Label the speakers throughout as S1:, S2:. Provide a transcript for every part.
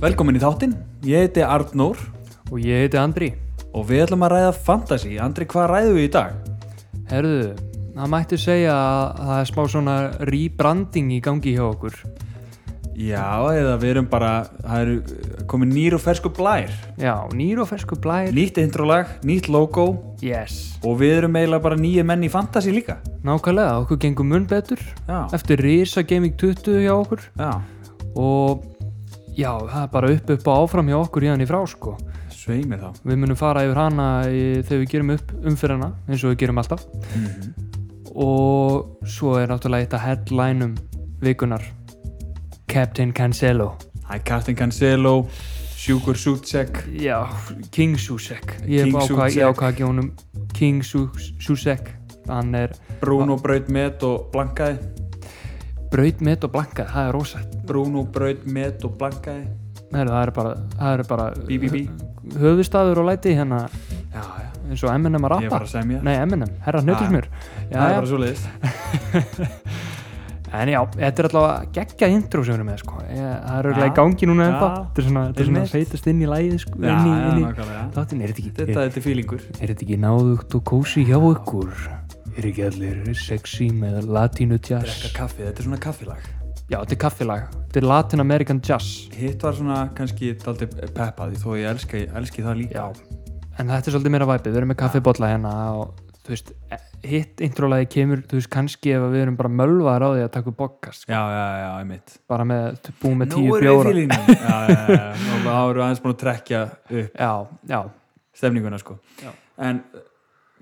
S1: Velkomin í þáttinn, ég heiti Arnór
S2: Og ég heiti Andri.
S1: og við ætlum að ræða fantasy. Andri, hvað ræðum við í dag?
S2: Herðu, það mætti segja að það er smá svona rebranding í gangi hjá okkur.
S1: Já, eða við erum bara, það eru komin nýr og fersku blær.
S2: Já, nýr og fersku blær.
S1: Nýtt introlag, nýtt logo
S2: Yes.
S1: og við erum eiginlega bara nýju menn í fantasy líka.
S2: Nákvæmlega, okkur gengur mun betur.
S1: Já,
S2: Eftir Risa Gaming 20 hjá okkur.
S1: já,
S2: Og já, það er bara upp upp og áfram hjá okkur í hann í frá sko.
S1: svei mér þá.
S2: Við munum fara yfir hana í, þegar við gerum upp umfyrirna, eins og við gerum alltaf.
S1: Mhm.
S2: Og svo er náttúrulega eitt að headlænum vikunar. Captain Cancelo.
S1: Það er Captain Cancelo, Sjúkur Sútsek,
S2: Já, King Susek Ég
S1: King
S2: ákvað
S1: Susek.
S2: ég ákvað ekki honum King Sus- Susek Hann er
S1: Bruno braut met og blankaði.
S2: braut með og blankað, það er rósætt
S1: Bruno braut met og blankaði.
S2: Heru, Það er bara, það er bara
S1: Bí, bí, bí.
S2: höfustafur og læti hérna
S1: Já, já,
S2: eins og Eminem að
S1: ég
S2: rappa
S1: var að semja.
S2: Nei, Eminem, herra hnötur smur
S1: það er
S2: já,
S1: bara
S2: já.
S1: svo leiðist.
S2: En já, þetta er allavega geggja intro sem við erum með sko. Ég, Það er auðvitað
S1: Já.
S2: í gangi núna
S1: Já.
S2: ennþá Þetta er svona, þetta er svona
S1: Einmitt.
S2: feitast inn í lægi sko,
S1: Já,
S2: inn í,
S1: já,
S2: inn í.
S1: nákvæmlega.
S2: Þáttin, er þetta ekki
S1: Þetta, þetta er fílingur.
S2: Er þetta ekki náðugt og kósi hjá ykkur? Er ekki allir sexy með latínu jazz?
S1: Drekka kaffi, þetta er svona kaffilag.
S2: Já, þetta er kaffilag. Þetta er Latin American jazz.
S1: Hitt var svona kannski daldi peppaði þó ég elski, elski það líka.
S2: Já. En þetta er svolítið meira væpið. Við erum með kaffibotla hérna og þú veist, hitt introlagi kemur, þú veist, kannski ef við erum bara mölvar á því að taka upp podcast. sko.
S1: Já, já, já, ég mitt.
S2: Bara með, búið með
S1: Nú erum
S2: tíu
S1: við
S2: bjóra.
S1: fílinu. Já, já, já, já. Og þá erum við aðeins búin að trekja upp
S2: Já, já.
S1: stefninguna, sko.
S2: Já.
S1: En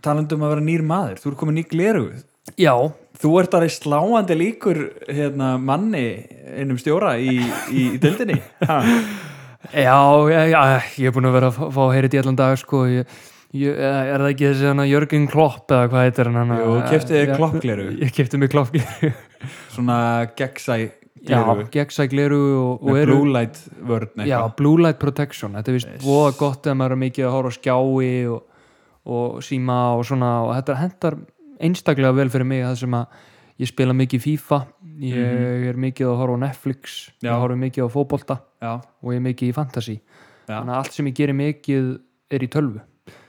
S1: talandum um að vera nýr maður, þú ert komin ný gleruð.
S2: Já,
S1: Þú ert aðeins sláandi líkur hérna, manni einum stjóra í, í, í dildinni.
S2: já, já, já, ég er búin að vera að fá- fá að heyra þetta í allan dag, sko. Ég, ég, er það ekki þessi hana Jörgen Klopp eða hvað heitir hann?
S1: Jú, keyptu þér kloppgleru.
S2: Ég kefti mig kloppgleru.
S1: Svona gegnsæ
S2: Já,
S1: gleru.
S2: gegnsæ gleru og, og
S1: Með
S2: eru
S1: blue light vörn
S2: já,
S1: eitthvað.
S2: blue light protection þetta er vist voða gott ef maður er mikið að horfa á skjái og, og síma og svona og þetta hendar einstaklega vel fyrir mig það sem að ég spila mikið FIFA ég er mikið að horfa á Netflix
S1: Mhm. Já.
S2: ég horfa mikið á fótbolta
S1: Já,
S2: og ég er mikið í fantasy
S1: Já.
S2: þannig að allt sem ég gerir mikið er í tölvu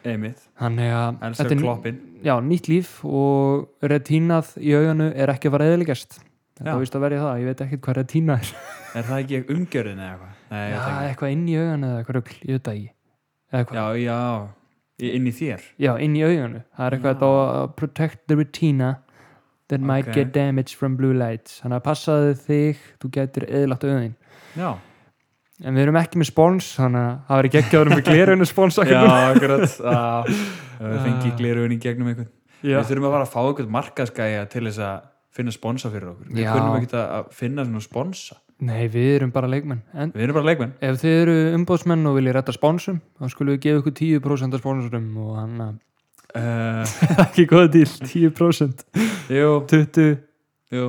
S1: einmitt.
S2: þannig að
S1: Elsar
S2: er
S1: kloppin.
S2: já, nýtt líf og retínað í auganu er ekki að fara eðilegast
S1: Já.
S2: þetta vist að verja það, ég veit ekkert hvað retína er
S1: Er það ekki umgjörðin eða eitthvað? Nei, ég veit ekki.
S2: Já, eitthvað inn í augun eða eitthvað rugl, ég veit það ekki eða eitthvað, já.
S1: Já, já, í- inn í þér
S2: inn í augunu það er eitthvað þetta á að protect the retina that might
S1: Ok.
S2: get damage from blue lights þannig að passaðu þig, þú getur eðlagt augun
S1: Já,
S2: en við erum ekki með spons, þannig að það verður ekki að vera með gleraunu spons
S1: já,
S2: akkur nú.
S1: akkurat Já, ef við fengi
S2: Ah.
S1: gleruðin í gegnum einhvern
S2: já.
S1: Við þurfum að fara að fá einhvern markaskæja til þess að finna sponsa fyrir okkur Við
S2: Já.
S1: kunnum ekkert að- að finna svona sponsa
S2: nei, við erum bara leikmenn en
S1: Við erum bara leikmenn
S2: ef þið eru umbóðsmenn og viljið retta sponsum þá skulum við gefa ykkur 10% af sponsorum og hann að
S1: uh,
S2: ekki góða díl, 10%
S1: Jú,
S2: 20
S1: jú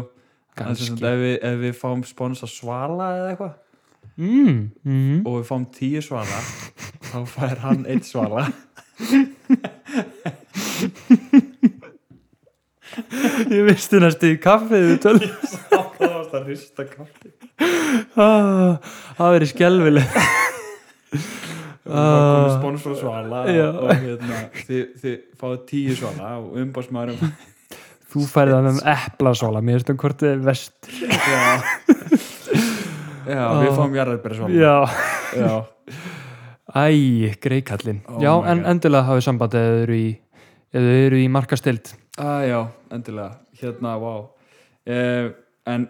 S1: En sem sagt,
S2: kannski
S1: Ef við, ef við fáum sponsa svala eða eitthvað
S2: mm, mm.
S1: og við fáum tíu svala þá fær hann eitt svala
S2: ég visti næstu í kaffið við tölum
S1: Það varst að rista kaffi
S2: Ah, Það verið skelvileg
S1: og það komið sponsor svala
S2: Já.
S1: og, og hérna, þið, þið fáið tíu svala og umbásmaðurum
S2: Þú færði það með eplasóla Mér veist um hvort þið er vest
S1: Já, já við
S2: Ó.
S1: fáum jarðarbæri svona
S2: Já
S1: Ah. já.
S2: Æ, greikallin
S1: Oh
S2: Já,
S1: my
S2: en
S1: God.
S2: endilega hafið samband eða þau eru í eða þau eru í markastild
S1: Ah, já, endilega Hérna, vá eh, En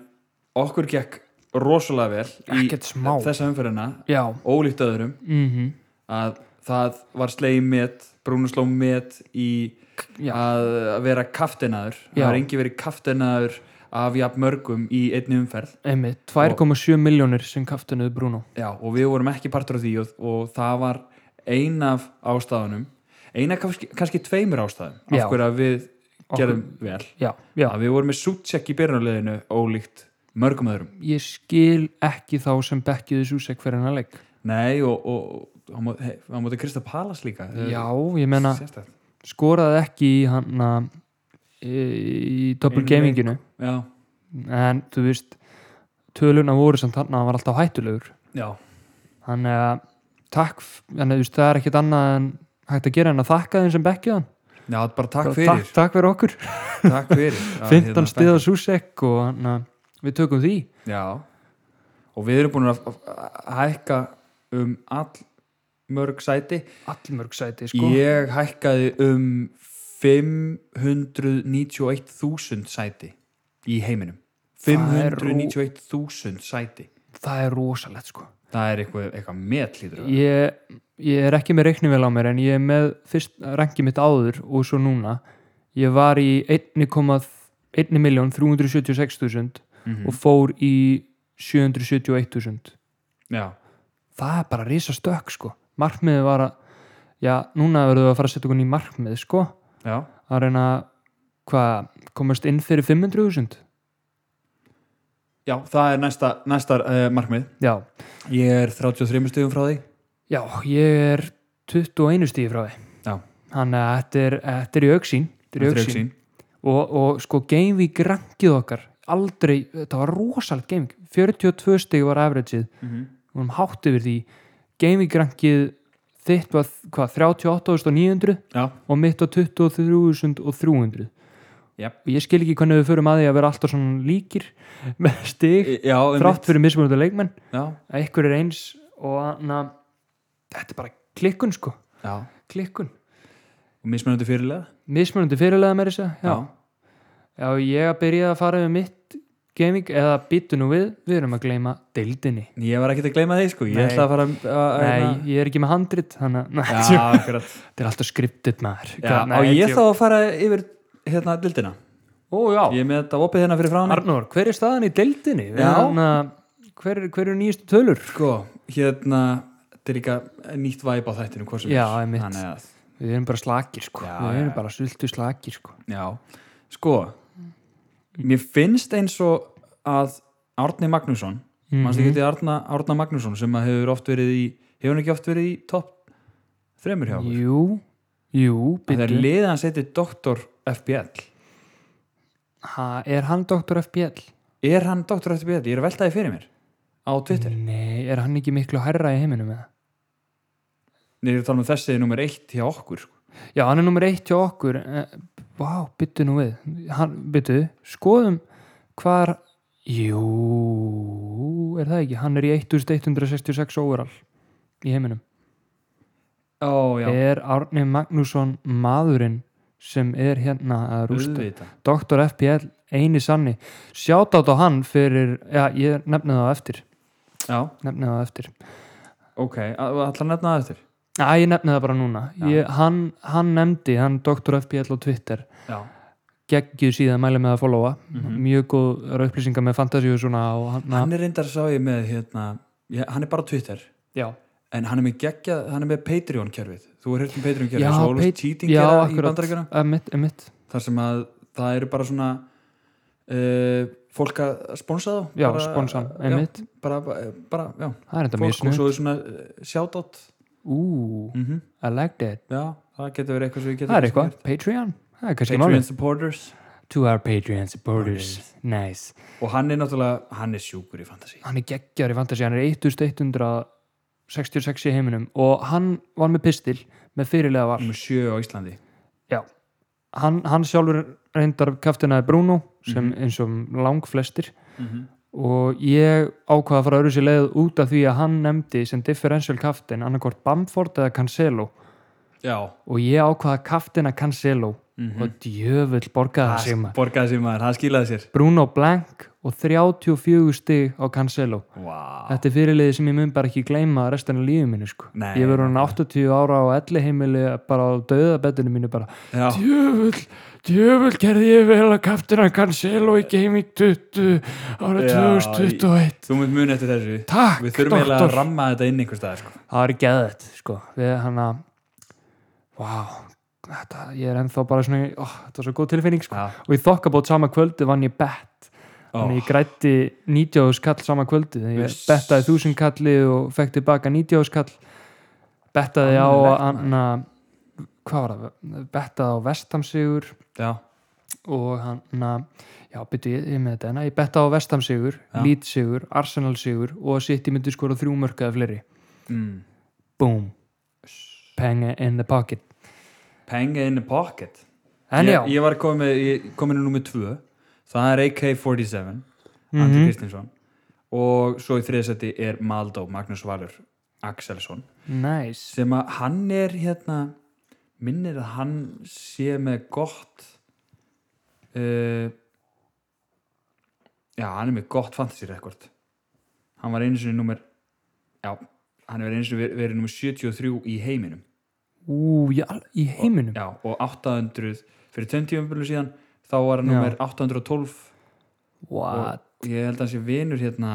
S1: okkur gekk rosalega vel í
S2: Ekkert smá.
S1: þessa umferðina
S2: Já
S1: ólíkt öðrum
S2: mm
S1: að það var slegið met Brúnusló met í
S2: Já.
S1: að, að vera kaftenaður það
S2: Já.
S1: var engi verið kaftenaður af jafn mörgum í einni umferð
S2: Einmitt, 2,7 miljónir sem kaftinuðu Bruno
S1: Já, og við vorum ekki partur af því og, og það var ein af ástæðunum eina kannski, kannski tveimur ástæðum
S2: Já.
S1: af hverju að við
S2: Okkur-
S1: gerðum vel
S2: Já, já
S1: að við vorum með sútsjekk í byrjunarleginu ólíkt mörgum öðrum
S2: Ég skil ekki þá sem bekkiðu Susek fyrir hennar leik
S1: Nei, og, og, og hann mó- he- hann móti Krista Palas líka Eh,
S2: Já, ég meina
S1: Sérstætt.
S2: skoraði ekki í hann að í doppel
S1: Einum leik.
S2: gaminginu
S1: Já,
S2: en þú veist töluna voru samt þarna að hann var alltaf hættulegur
S1: já,
S2: þannig að takk, f- þannig að þú veist, það er ekkit annað en hægt að gera en að þakka þeim sem bekkja hann
S1: Já, bara takk
S2: Bara
S1: fyrir,
S2: takk, takk fyrir okkur,
S1: takk fyrir. Já,
S2: 15
S1: hérna,
S2: stiða súsek og hann að við tökum því
S1: Já og við erum búin að að hækka um all mörg sæti
S2: allmörg sæti sko
S1: ég hækkaði um 591.000 sæti í heiminum
S2: Það er rú-
S1: 591.000 sæti
S2: það er rosalegt sko
S1: það er eitthvað, eitthvað metlítur
S2: ég, ég er ekki með reiknivél á mér en ég er með fyrst rangi mitt áður og svo núna ég var í 1.376.000
S1: mm
S2: og fór í 771.000
S1: já,
S2: það er bara risa stökk sko markmiðið var að já, núna verðum við að fara að setja okkur ný markmið sko
S1: já,
S2: að reyna að, hvað, komast inn fyrir 500.000
S1: já, það er næsta, næsta uh, markmið
S2: já,
S1: ég er 33 stöðum frá því
S2: já, ég er 21 stíði frá því
S1: Já.
S2: þannig að þetta er, þetta er í auksín þetta er í auksín
S1: auksýn.
S2: og, og sko Gameweek rankið okkar aldrei, þetta var rosalegt Gameweek 42 stig var averageið
S1: Mhm.
S2: við vorum hátt yfir því Gameweek rankið þitt var hvað, 38.900
S1: já,
S2: og mitt var 23.300
S1: Jep.
S2: og ég skil ekki hvernig við förum að því að vera alltaf svona líkir með stig
S1: já, einmitt.
S2: þrátt fyrir mismunandi leikmenn
S1: já,
S2: að ykkur er eins og na, þetta er bara klikkun sko
S1: já,
S2: klikkun,
S1: og mismunandi fyrirlega
S2: mismunandi fyrirlega með þess að já. Já, ég að byrja að fara með mitt gaming eða býtu nú við, við erum að gleyma deildinni.
S1: Ég var ekkert að gleyma því sko, ég
S2: Nei.
S1: ætla að fara að- að...
S2: Nei, ég er ekki með handrit, þannig að
S1: hérna. Já, akkurat
S2: þetta er alltaf skriptið maður.
S1: Já,
S2: Hvað-
S1: Á ég þá að fara yfir hérna dildina
S2: Ó, já.
S1: Ég er með þetta opið hérna fyrir frá hann
S2: Arnór, hver er staðan í deildinni? Við
S1: Já.
S2: erum að- Hver, hver eru nýjastu tölur?
S1: Sko, hérna Þetta er líka nýtt væp á þættinu hvort sem
S2: Já,
S1: er.
S2: einmitt.
S1: Þannig að,
S2: Við erum bara slakir, sko.
S1: Já,
S2: við erum
S1: já.
S2: bara sultu slakir, sko.
S1: já, sko Mér finnst eins og að Árni Magnússon
S2: Mhm.
S1: mm -hmm. Manstu ekki til Árna, Árna Magnússon sem að hefur oft verið í Hefur hann ekki oft verið í topp Þremur hjá okkur
S2: Jú, jú,
S1: Það er
S2: byrju.
S1: liðið hans heitir Dr. FBL
S2: Ha, er hann doktor FBL?
S1: Er hann Dr. FBL? Ég er að velta því fyrir mér Á
S2: Mhm.
S1: Twitter
S2: Nei, er hann ekki miklu hærra í heiminum eða?
S1: Nei, ég er að tala um þessi nummer eitt hjá okkur sko.
S2: Já, hann er nummer eitt hjá okkur Eh, Vá, byttu nú við hann, Byttu, skoðum hvar Jú Er það ekki? Hann er í 1166 overall í heiminum
S1: Ó, já,
S2: Er Árni Magnússon maðurinn sem er hérna að rústa
S1: auðvitað
S2: Dr. FPL, eini sanni Sjátátt á hann fyrir Já, ég nefni það á eftir
S1: Já,
S2: Nefni það á eftir
S1: ok, allar nefna það eftir
S2: Æ, ég nefni það bara núna
S1: Já.
S2: ég, hann, hann nefndi, hann Dr. FPL á Twitter
S1: Já,
S2: geggjuð síðan mæli með að followa
S1: Mhm.
S2: mjög góð upplýsingar með fantasíu og svona og hann,
S1: hann er reyndar sá ég með hérna, ég, hann er bara á Twitter
S2: já,
S1: en hann er með geggja, hann er með Patreon kerfið þú er hirt um Patreon kerfið,
S2: Já,
S1: svo alveg
S2: Pat-
S1: cheating
S2: já,
S1: gera í
S2: akkurat,
S1: bandaríkjana
S2: emitt, emitt
S1: þar sem að það eru bara svona uh, fólk að sponsa þá
S2: já,
S1: bara,
S2: sponsan,
S1: já,
S2: emitt,
S1: bara, bara, bara, já,
S2: það er þetta
S1: fólk
S2: mjög
S1: og
S2: snuð
S1: svo er svona uh, shoutout
S2: ú,
S1: mm
S2: I like that
S1: já, það getur verið eitthvað sem við getum
S2: Mhm. það er
S1: kannski
S2: eitthvað, Patreon, það er kannski
S1: gert. Patreon
S2: málið
S1: supporters
S2: to our Patreon supporters, nice
S1: og hann er náttúrulega, hann er sjúkur í fantasi
S2: hann er geggjar í fantasíu, hann er 1166 í heiminum og hann var með pistil með fyrirlega var
S1: nummer sjö á Íslandi
S2: hann, hann sjálfur reyndar kaftinaði Bruno sem
S1: Mhm.
S2: eins og langflestir og ég ákvaða að fara öðru sér leið út af því að hann nefndi sem differential kaftin annarkvort Bamford eða Cancelo
S1: já,
S2: og ég ákvaða kaftina Cancelo
S1: Mhm.
S2: og djöfull borgaði það sig
S1: það
S2: maður
S1: borgaði sig maður, það skilaði sér
S2: Bruno Blank og 34 stig á Cancelo
S1: wow.
S2: þetta er fyrirliði sem ég mun bara ekki gleyma restan af lífið minni sko
S1: Ah. Nei.
S2: ég verður hann 80 ára á elli heimili bara á döðabettinu mínu bara
S1: já,
S2: djöfull, djöfull gerði ég vel að kaftina Cancelo í Gaming 20 ára
S1: Já,
S2: 2021
S1: þú mynd mun eftir þessu
S2: Takk,
S1: við þurfum eiginlega að
S2: doktor.
S1: ramma þetta inn einhvers staðar sko.
S2: það er geðið sko. við hann að wow, þetta, ég er ennþá bara svona ó, þetta er svo góð tilfinning sko.
S1: já,
S2: og ég þokka bótt sama kvöldi vann ég bett
S1: Ó.
S2: þannig ég grætti 90 kall sama kvöldi þegar ég
S1: Uss.
S2: bettaði 1000 kalli og fekk tilbaka 90 kall bettaði á
S1: Alveg,
S2: anna, hvað var það, bettaði á vestamsigur
S1: já,
S2: og hann að já, byrju, ég, ég með þetta, hérna, ég betta á vestamsigur
S1: Já.
S2: lýtsigur, arsenalsigur og að sitt ég myndi skora þrjú mörk eða fleiri
S1: mm.
S2: boom penga in the pocket
S1: Penga in the pocket
S2: en
S1: ég,
S2: já,
S1: ég var komin, með- ég, komin í nummer 2 það er AK-47 Andri
S2: mhm,
S1: Kristinsson og svo í þriðsætti er Maldó Magnús Valur Axelsson
S2: nice
S1: sem að hann er hérna minnir að hann sé með gott uh, já, hann er með gott fantasy rekord hann var einu sinni nummer já, hann hefur einu sinni verið, verið nummer 73 í heiminum
S2: ú, já, í heiminum
S1: já, og 800 fyrir 20 umbyrlu síðan þá var hann
S2: Já.
S1: nummer 812
S2: what,
S1: og ég held að hann sé vinur hérna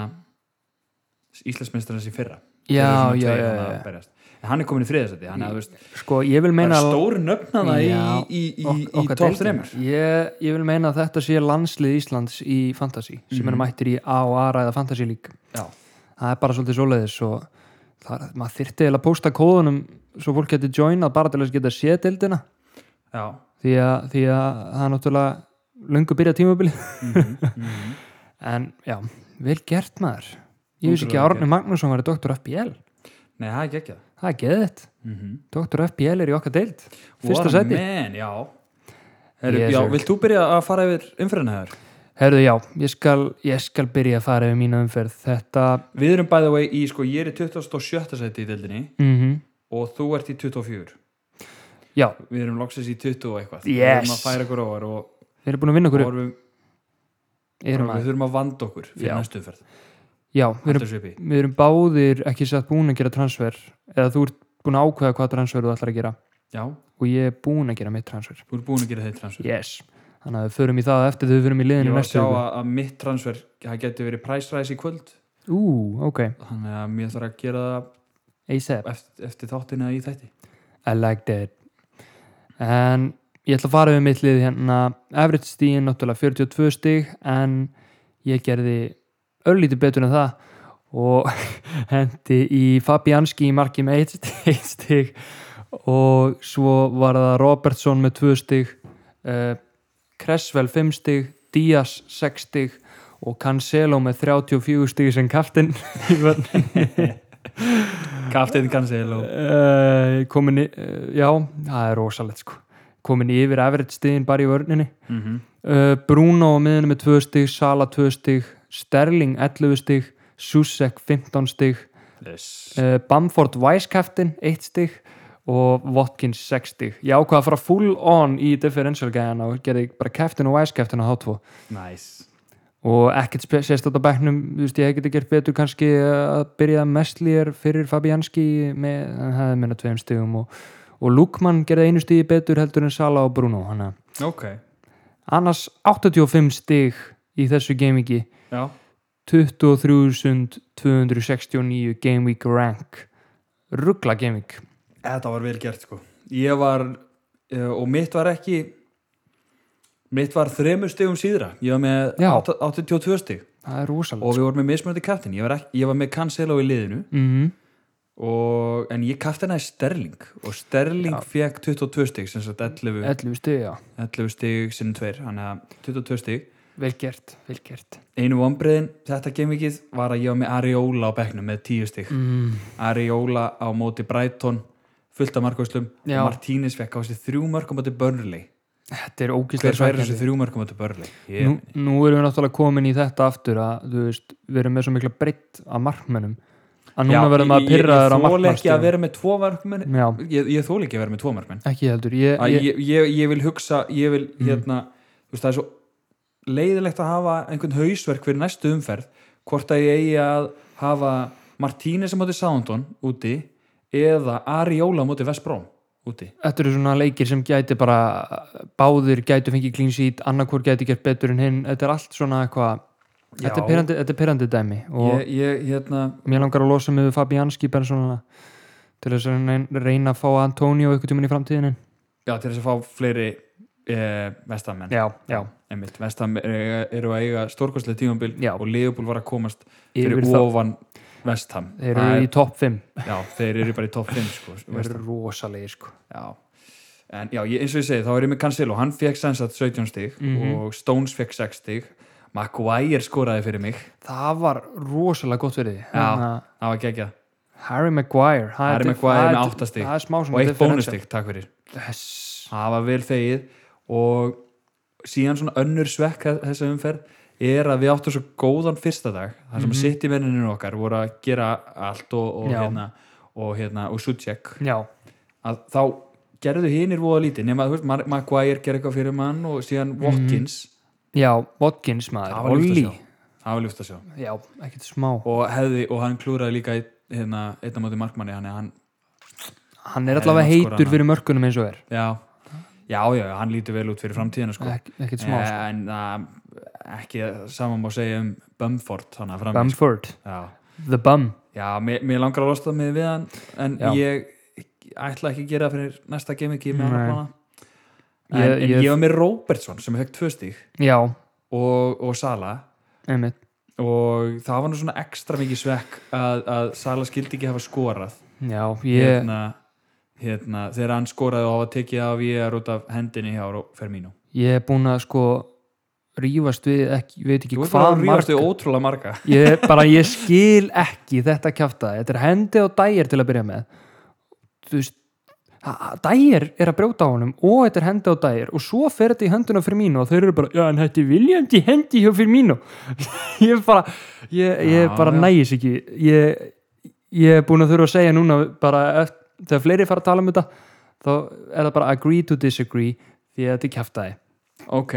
S1: Íslandsmeistarins í fyrra
S2: já,
S1: Þeir eru svona
S2: já,
S1: tveir
S2: já,
S1: þarna að
S2: já.
S1: berjast. En hann er komin í þriðasæti hann er, þú veist,
S2: sko, ég vil
S1: meina,
S2: meina að-
S1: stór nöfnana í,
S2: Já,
S1: í, í,
S2: Ok-
S1: í
S2: okkar
S1: top
S2: deildina.
S1: 3
S2: ég, ég vil meina að þetta sé landslið Íslands í fantasy sem
S1: Mhm.
S2: er mættir í A og A ræða fantasy lík
S1: Já.
S2: það er bara svolítið svoleiðis og það, maður þyrfti eiginlega að posta kóðunum svo fólk getur joinað bara til að geta séð deildina
S1: já,
S2: því að, því að það er náttúrulega löngu byrja tímabili
S1: Mhm,
S2: mhm. en já, vel gert maður ég vissi ekki að
S1: Ótrúlega
S2: Árni Magnússon var í Dr. FBL
S1: nei, það er ekki ekki
S2: það er geðið, Dr. FBL er í okkar deild Mhm. fyrsta sæti
S1: man, já Heru,
S2: Yes,
S1: já,
S2: sir.
S1: vilt þú byrja að fara yfir umfyrirna þér?
S2: herðu já, ég skal, ég skal byrja að fara yfir mína umferð þetta
S1: Við erum by the way í, sko, ég er í 27. sæti í deildinni
S2: mm
S1: og þú ert í 24
S2: já,
S1: Við erum loksins í 20 og eitthvað Við
S2: Yes.
S1: erum að færa okkur ofar og
S2: Við erum búin að vinna okkur upp
S1: horfum,
S2: erum
S1: við
S2: að,
S1: þurfum að vanda okkur fyrir
S2: Já.
S1: næstu umferð
S2: Já, við erum,
S1: Haltu þessu upp í.
S2: við erum báðir ekki satt búin að gera transfer eða þú ert búin að ákveða hvað transfer þú ætlar að gera
S1: Já,
S2: og ég er búin að gera mitt transfer
S1: þú ert búin að gera þeir transfer
S2: Yes Þannig að við förum í það eftir þau förum í
S1: Ég
S2: liðinu
S1: var að sjá
S2: næstu viku.
S1: að, að mitt transfer það getur verið price rise í kvöld
S2: Ú, ok,
S1: þannig að mér þarf að gera það
S2: ASAP
S1: eftir, eftir þáttina í þætti
S2: I liked it En ég ætla að fara við mitt lið hérna Average stíðin náttúrulega 42 stig en ég gerði örlítið betur en það og hendi í Fabianski í marki með 1 stig og svo var það Robertson með 2 stig uh, Cresswell 5 stig Díaz 6 stig og Cancelo með 34 stig sem kaftin í vörn
S1: Kaftin Cancelo
S2: uh, komin í, uh, já, það er rosalegt sko komin yfir average stiðin bara í vörninni
S1: mm -hmm.
S2: uh, Bruno á miðinu með 2 stig Sala 2 stig, Sterling 11 stig Susek 15 stig
S1: yes.
S2: uh, Bamford Weiskaftin 1 stig og Watkins 6 stig ég ákvað að fara full on í differential gæðan og gerði bara keftin og Weiskaftin á H2
S1: nice.
S2: og ekkert spe- sérstætt á bæknum þú veist, ég hef getið gert betur kannski að byrja mestlýjar fyrir Fabianski með, hann hefði minna tveim stigum og, og Lukman gerði einu stigi betur heldur en Sala og Bruno hana.
S1: ok,
S2: annars 85 stig í þessu gamingi
S1: já
S2: 23.269 game week rank ruggla gaming
S1: þetta var vel gert sko ég var, uh, og mitt var ekki mitt var þremur stigum síðra, ég var með
S2: Já.
S1: átta- 82 stig
S2: það er
S1: og
S2: rosalegt
S1: við vorum með mismunandi kaftin ég var, ekki, ég var með Cancelo í liðinu
S2: mm
S1: og, en ég kaftinaði Sterling og Sterling
S2: Já.
S1: fekk 22 stig sem sagt 11,
S2: 11 stig, já,
S1: 11 stig sinni 2, hann er 22 stig
S2: vel gert vel gert
S1: einu vonbreiðin þetta gamingið var að ég var með Ariola á bekknum með tíu stig
S2: mm.
S1: Ariola á móti Brighton fullt af markvæslum og
S2: Já.
S1: Martínez fekk á sig þrjú mörg á móti Burnley
S2: þetta er
S1: hver
S2: ógislega
S1: væri þessi þrjú mörg á móti Burnley ég,
S2: nú, nú erum við náttúrulega komin í þetta aftur að þú veist, við erum með svo mikla breytt af markmönnum að núna verðum við að
S1: ég,
S2: pyrra þeirra
S1: ég þóla ekki að
S2: markmannstíðum
S1: vera með tvo markmenn
S2: Já,
S1: ég, ég þóla ekki að vera með tvo markmenn
S2: ekki heldur
S1: Æ,
S2: ég, ég, Mhm.
S1: ég, ég, ég vil hugsa ég vil hérna þú veist, það er svo leiðilegt að hafa einhvern hausverk fyrir næstu umferð hvort að ég eigi að hafa Martínez á móti Soundon úti eða Ariola á móti Vestbróm úti
S2: Þetta eru svona leikir sem gæti bara báðir gæti fengið clean sheet annarkor gæti gert betur en hinn þetta er allt svona eitthvað þetta er,
S1: Já.
S2: pyrrandi, þetta er pyrrandi dæmi og
S1: ég, ég hérna
S2: mér langar að losa mig við Fabianski bara svona til þess að reyna- reyna að fá Antonio einhvern tíminn í framtíðinu
S1: já, til þess að fá fleiri eh, vestamenn
S2: Já, já,
S1: einmitt, vestam eru eru að eiga stórkostlega tímambil
S2: Já.
S1: og Leopold var að komast fyrir
S2: yfir þá
S1: ofan vestam
S2: þeir eru í topp 5
S1: já, þeir eru bara í topp 5 sko,
S2: þeir
S1: West Ham.
S2: eru rosalegi sko
S1: já. en já, ég, eins og ég segi þá er ég með Cancelo, hann fekk sens að 17 stig
S2: Mhm.
S1: og Stones fekk 6 stig Maguire skoraði fyrir mig
S2: það var rosalega gott fyrir því
S1: Já.
S2: Þannig að
S1: það var gegja
S2: Harry Maguire það er-
S1: Harry Maguire
S2: það er-
S1: með átta stig.
S2: það er smá
S1: og
S2: svona
S1: eitt
S2: differential.
S1: bónustig, takk fyrir
S2: Mm, yes.
S1: það var vel þegið og síðan svona önnur svekk þe- þessa umferð er að við áttum svo góðan fyrsta dag þar sem mm
S2: Mhm.
S1: -hmm. sitt í menninir okkar voru að gera allt og, og
S2: Já.
S1: hérna og hérna, og Sucek
S2: já,
S1: að þá gerðu hinir voða lítið nema, þú veist, Ma- Maguire gerði eitthvað fyrir mann og
S2: Mhm.
S1: síðan Watkins
S2: já, Watkins
S1: það
S2: maður
S1: var ljúft að
S2: Olli,
S1: sjá það var ljúft að sjá
S2: já, ekkert smá
S1: og, hefði, og hann klúraði líka einn- hérna, einna móti markmanni hann, hann,
S2: hann er
S1: Hefði
S2: allavega
S1: mátt skora
S2: heitur
S1: hana.
S2: fyrir mörkunum eins og er
S1: já, já, já, hann lítur vel út fyrir framtíðina sko.
S2: Ek, ekkert smá sko.
S1: en að ekki saman má segja um Bumford þannig að fram
S2: Bamford,
S1: sko. já,
S2: the bum
S1: já mér, mér langar að losta mig við hann en
S2: Já.
S1: ég ætla ekki að gera það fyrir næsta gaming með hann
S2: Nei.
S1: að plana en
S2: Ég-
S1: ég, en
S2: ég-
S1: ég var með Robertson sem fekk tvö stík
S2: já,
S1: og, og Sala
S2: einmitt
S1: og það var nú svona ekstra mikið svekk að, að Sala skildi ekki hafa skorað
S2: já, ég,
S1: hérna, hérna, þegar hann skoraði og hafa tekið af ég er út af hendinni hjá Fermínu
S2: ég er búin að sko rífast við ekki, ég veit ekki
S1: Þú ert bara
S2: hvað
S1: að rífast við ótrúlega marga
S2: ég, bara ég skil ekki þetta kjaftaði, þetta er hendi og dægir til að byrja með þú veist dægir er að brjóta á honum og þetta er hendi og dægir og svo fer þetta í hönduna fyrir mínu og þau eru bara, já en þetta er viljandi hendi hjá fyrir mínu ég bara, ég, ég
S1: Já,
S2: bara
S1: já.
S2: nægis ekki ég, ég er búin að þurfa að segja núna bara eft- þegar fleiri fara að tala um þetta þá er það bara agree to disagree því að þetta er kjaftaði
S1: ok,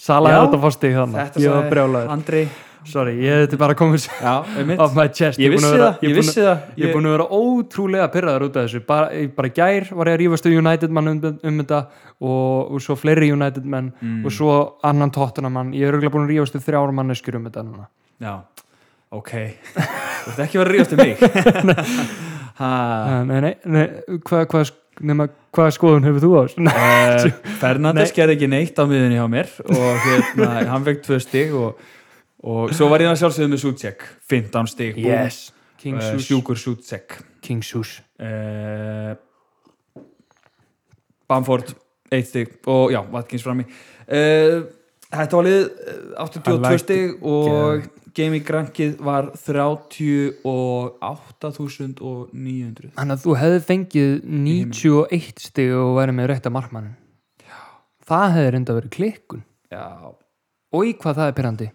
S2: Sala er
S1: Já,
S2: þetta fórst í þannig,
S1: þetta
S2: ég var brjálaður
S1: Andri
S2: sorry, ég þetta er bara komið
S1: Já, einmitt.
S2: off my chest
S1: ég
S2: er búinn
S1: vissi
S2: að vera-
S1: það, ég
S2: er búinn
S1: vissi það
S2: Ég er búin að vera ótrúlega pyrraðar út af þessu bara, ég- bara í gær var ég að rífast við United mann um, um þetta og, og svo fleiri United menn
S1: Mm.
S2: og svo annan Tottenham mann ég er örgulega búin að rífast við þrjár manneskjur um þetta núna
S1: Já, ok Þú ert ekki að vera að rífast um mig ha,
S2: Ah. Nei, nei, nei, hvað hva, nema, hvaða skoðun hefur þú á þessu? Nei.
S1: uh, Fernandes gerði ekki neitt á miðunni hjá mér og hérna, hann fekk tvö stig og, og svo var ég að sjálfsögðu með Sucek 15 stig búm.
S2: King
S1: uh,
S2: Sus
S1: Sjúkur Sucek
S2: King Sus
S1: uh, Bamford 1 stig og já, Watkins frammi uh, Þetta var lið eh, 82
S2: I liked
S1: stig og gaming rankið var 38.900
S2: Þannig að þú hefði fengið 91 stig og værið með rétt að markmannin Það hefði reynda verið klikkun
S1: Já,
S2: og í hvað það er pyrrandi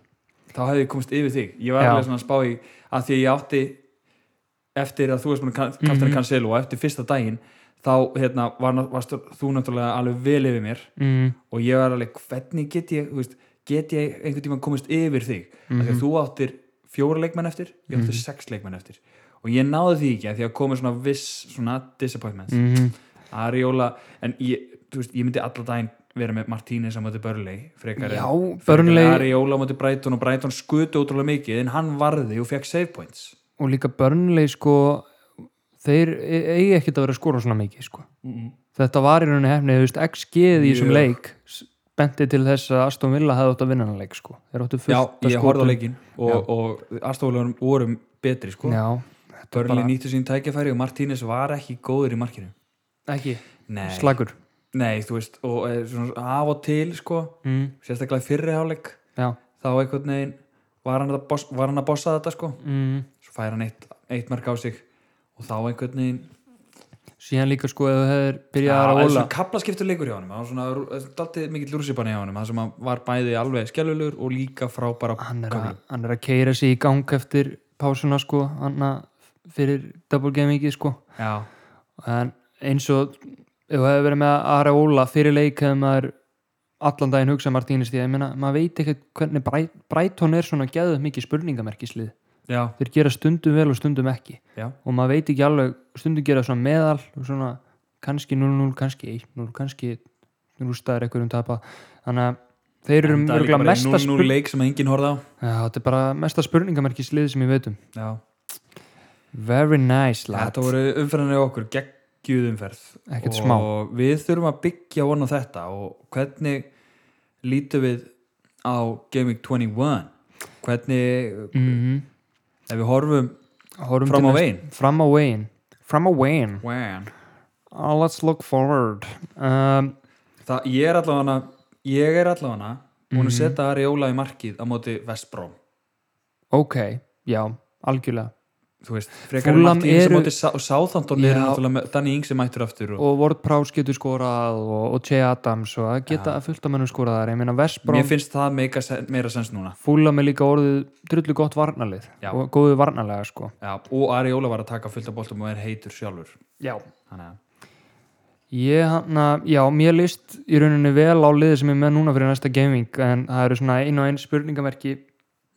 S1: þá hefði ég komist yfir þig Ég var
S2: Já.
S1: alveg svona að spá í að því að ég átti eftir að þú varst búin að kaftan
S2: Mhm.
S1: að cancelu og eftir fyrsta daginn þá hérna, var, varst þú náttúrulega alveg vel yfir mér
S2: mm.
S1: og ég var alveg, hvernig get ég þú veist, get ég einhvern tímann komist yfir þig mm því að þú áttir fjóra leikmenn eftir ég átti sex leikmenn eftir og ég náði því ekki að því að komið svona viss svona disappointments mm.
S2: Mm
S1: Ariola, en ég, þú veist, ég myndi allan daginn vera með Martínez á móti Börley frekar en-
S2: Já,
S1: frekar en
S2: Burnley-
S1: Ariola á móti Brighton og Brighton skutu ótrúlega mikið en hann varði og fekk save points
S2: og líka Burnley sko þeir e- eigi ekkert að vera að skora svona mikið sko. þetta var í rauninni hefni þú veist, XG í þessum
S1: Mjög.
S2: leik s- benti til þess að Aston Villa hefði átt að vinna hann leik sko. þeir áttu fullt
S1: Já,
S2: að
S1: ég horfði á
S2: skotum.
S1: leikinn og, og aðstofulegurum vorum betri sko,
S2: já,
S1: Börley
S2: bara-
S1: nýttu sín tækifæri og Martínez var ekki góður í markinu
S2: ekki,
S1: Nei,
S2: slagur
S1: Nei, þú veist, og eh, svona, af og til sko,
S2: mm.
S1: sérstaklega í fyrri háleik
S2: já,
S1: þá einhvern veginn var hann að, boss, var hann að bossa þetta sko
S2: mm.
S1: svo fær hann eitt, eitt mark á sig og þá einhvern veginn
S2: síðan líka sko ef þú hefur byrjað að
S1: en
S2: óla
S1: svona kaplaskiptur leikur hjá hann hann var svona daltið mikill lúrsipanni hjá hann það sem hann var bæði alveg skellulegur og líka frábara
S2: hann er,
S1: köflum.
S2: að, hann er að keira sig í gang eftir pásuna sko hann að- fyrir double gamingi sko
S1: Já,
S2: en eins og ef það hefur verið með Ara Óla fyrir leik hefur maður allan daginn hugsað Martínez því að ég meina, maður veit ekkert hvernig Bræ- Brighton er svona geðuð mikið spurningamerkislið
S1: já,
S2: þeir gera stundum vel og stundum ekki
S1: já
S2: og maður veit ekki alveg, stundum gera svona meðal og svona kannski 0-0, kannski 1-0, kannski rústaður einhverjum tapa þannig að þeir eru
S1: Það er líka
S2: mjög
S1: bara
S2: mesta,
S1: 0-0
S2: spurning...
S1: leik sem enginn horfði á
S2: þetta er bara mesta spurningamerkislið sem ég veit um
S1: Já,
S2: very nice lad
S1: þetta voru umferðinni okkur geggjuð umferð
S2: ekkert
S1: og
S2: smá
S1: við þurfum að byggja von á þetta og hvernig lítum við á Gaming 21 hvernig,
S2: mm
S1: ef við horfum
S2: Horfum
S1: fram
S2: til
S1: á
S2: næst-
S1: veginn
S2: Fram á veginn Fram á veginn
S1: When?
S2: uh, Let's look forward um,
S1: það, ég er allavega ég er allavega hún
S2: Mhm.
S1: að setja Ariola í markið á móti Vestbróm
S2: Ok, já, algjörlega
S1: þú veist, frekar en
S2: Fulham
S1: Martin Ings á
S2: eru-
S1: móti Sá- og Southampton
S2: Já.
S1: eru náttúrulega með- Danny Ings er mættur aftur og,
S2: og Ward Prowse getur skorað og, og Che Adams og að geta fullt af mönnum skoraðar ég meina
S1: mér
S2: Vestbrón,
S1: finnst það meika, sen- meira sens núna
S2: fúla með líka orðið drullu gott varnalið
S1: Já.
S2: og góðu varnalega sko
S1: Já, og Ari Óla var að taka fullt af boltum og er heitur sjálfur
S2: já.
S1: þannig að
S2: Ég, hana, já, mér líst í rauninni vel á liðið sem ég er með núna fyrir næsta gaming en það eru svona ein og ein spurningamerki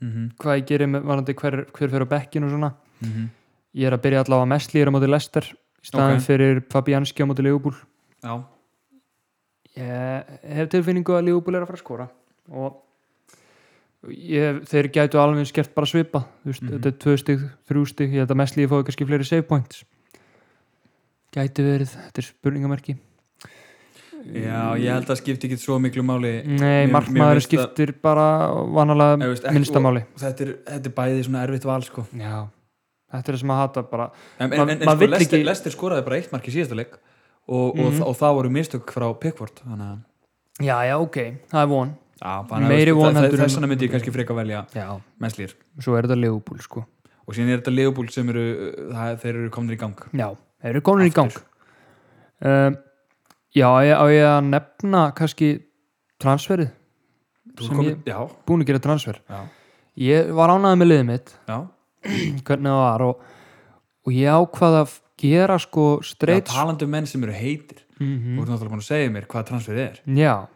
S1: mm -hmm.
S2: hvað ég gerir með varandi hver, hver fyrir á bekkin og svona
S1: Mhm.
S2: ég er að byrja allavega mestlýra móti Lester í staðan
S1: Ok.
S2: fyrir Fabianski á móti Leopold
S1: Já,
S2: ég hef tilfinningu að Liverpool er að fara að skora og ég, þeir gætu alveg eins gert bara svipa þú veist,
S1: Mhm.
S2: þetta er tvö stig, þrjú stig ég held að mest lífi fóðu kannski fleiri save points gætu verið, þetta er spurningamerki
S1: já, ég held að skipti ekki svo miklu máli
S2: nei,
S1: mér- mér
S2: markmaður
S1: finnst að-
S2: skiptir bara vanalega
S1: Ég veist, ekki-
S2: minnstamáli
S1: þetta er, þetta er bæði svona erfitt val sko.
S2: já, þetta er það sem að hata bara
S1: en, en,
S2: Ma-
S1: en, en
S2: maður
S1: sko,
S2: vill
S1: lestir,
S2: ekki-
S1: lestir skoraði bara eitt mark í síðasta leik og, og,
S2: Mhm.
S1: og, það voru mistök frá Pickford þannig að
S2: já, já, ok, það er von
S1: Já, bara,
S2: Meiri
S1: veist, það-
S2: von
S1: það-
S2: heldur en-
S1: þess vegna myndi ég kannski freka velja
S2: já,
S1: mennslýr
S2: svo er þetta Liverpool sko
S1: og síðan er þetta Leopold sem eru uh, það, þeir eru komnir í gang
S2: Já, þeir eru konur í gang
S1: Aftur.
S2: um, Já, á ég, á ég að nefna kannski transferið,
S1: Þú
S2: Sem
S1: ert komin- já,
S2: búin að gera transfer
S1: já,
S2: Ég var ánægði með liðið mitt
S1: já,
S2: hvernig það var og, og ég ákvað að gera sko
S1: já
S2: straight
S1: talandi um menn sem eru heitir
S2: Mhm.
S1: þú ert náttúrulega búin að segja mér hvað transferið er
S2: Já,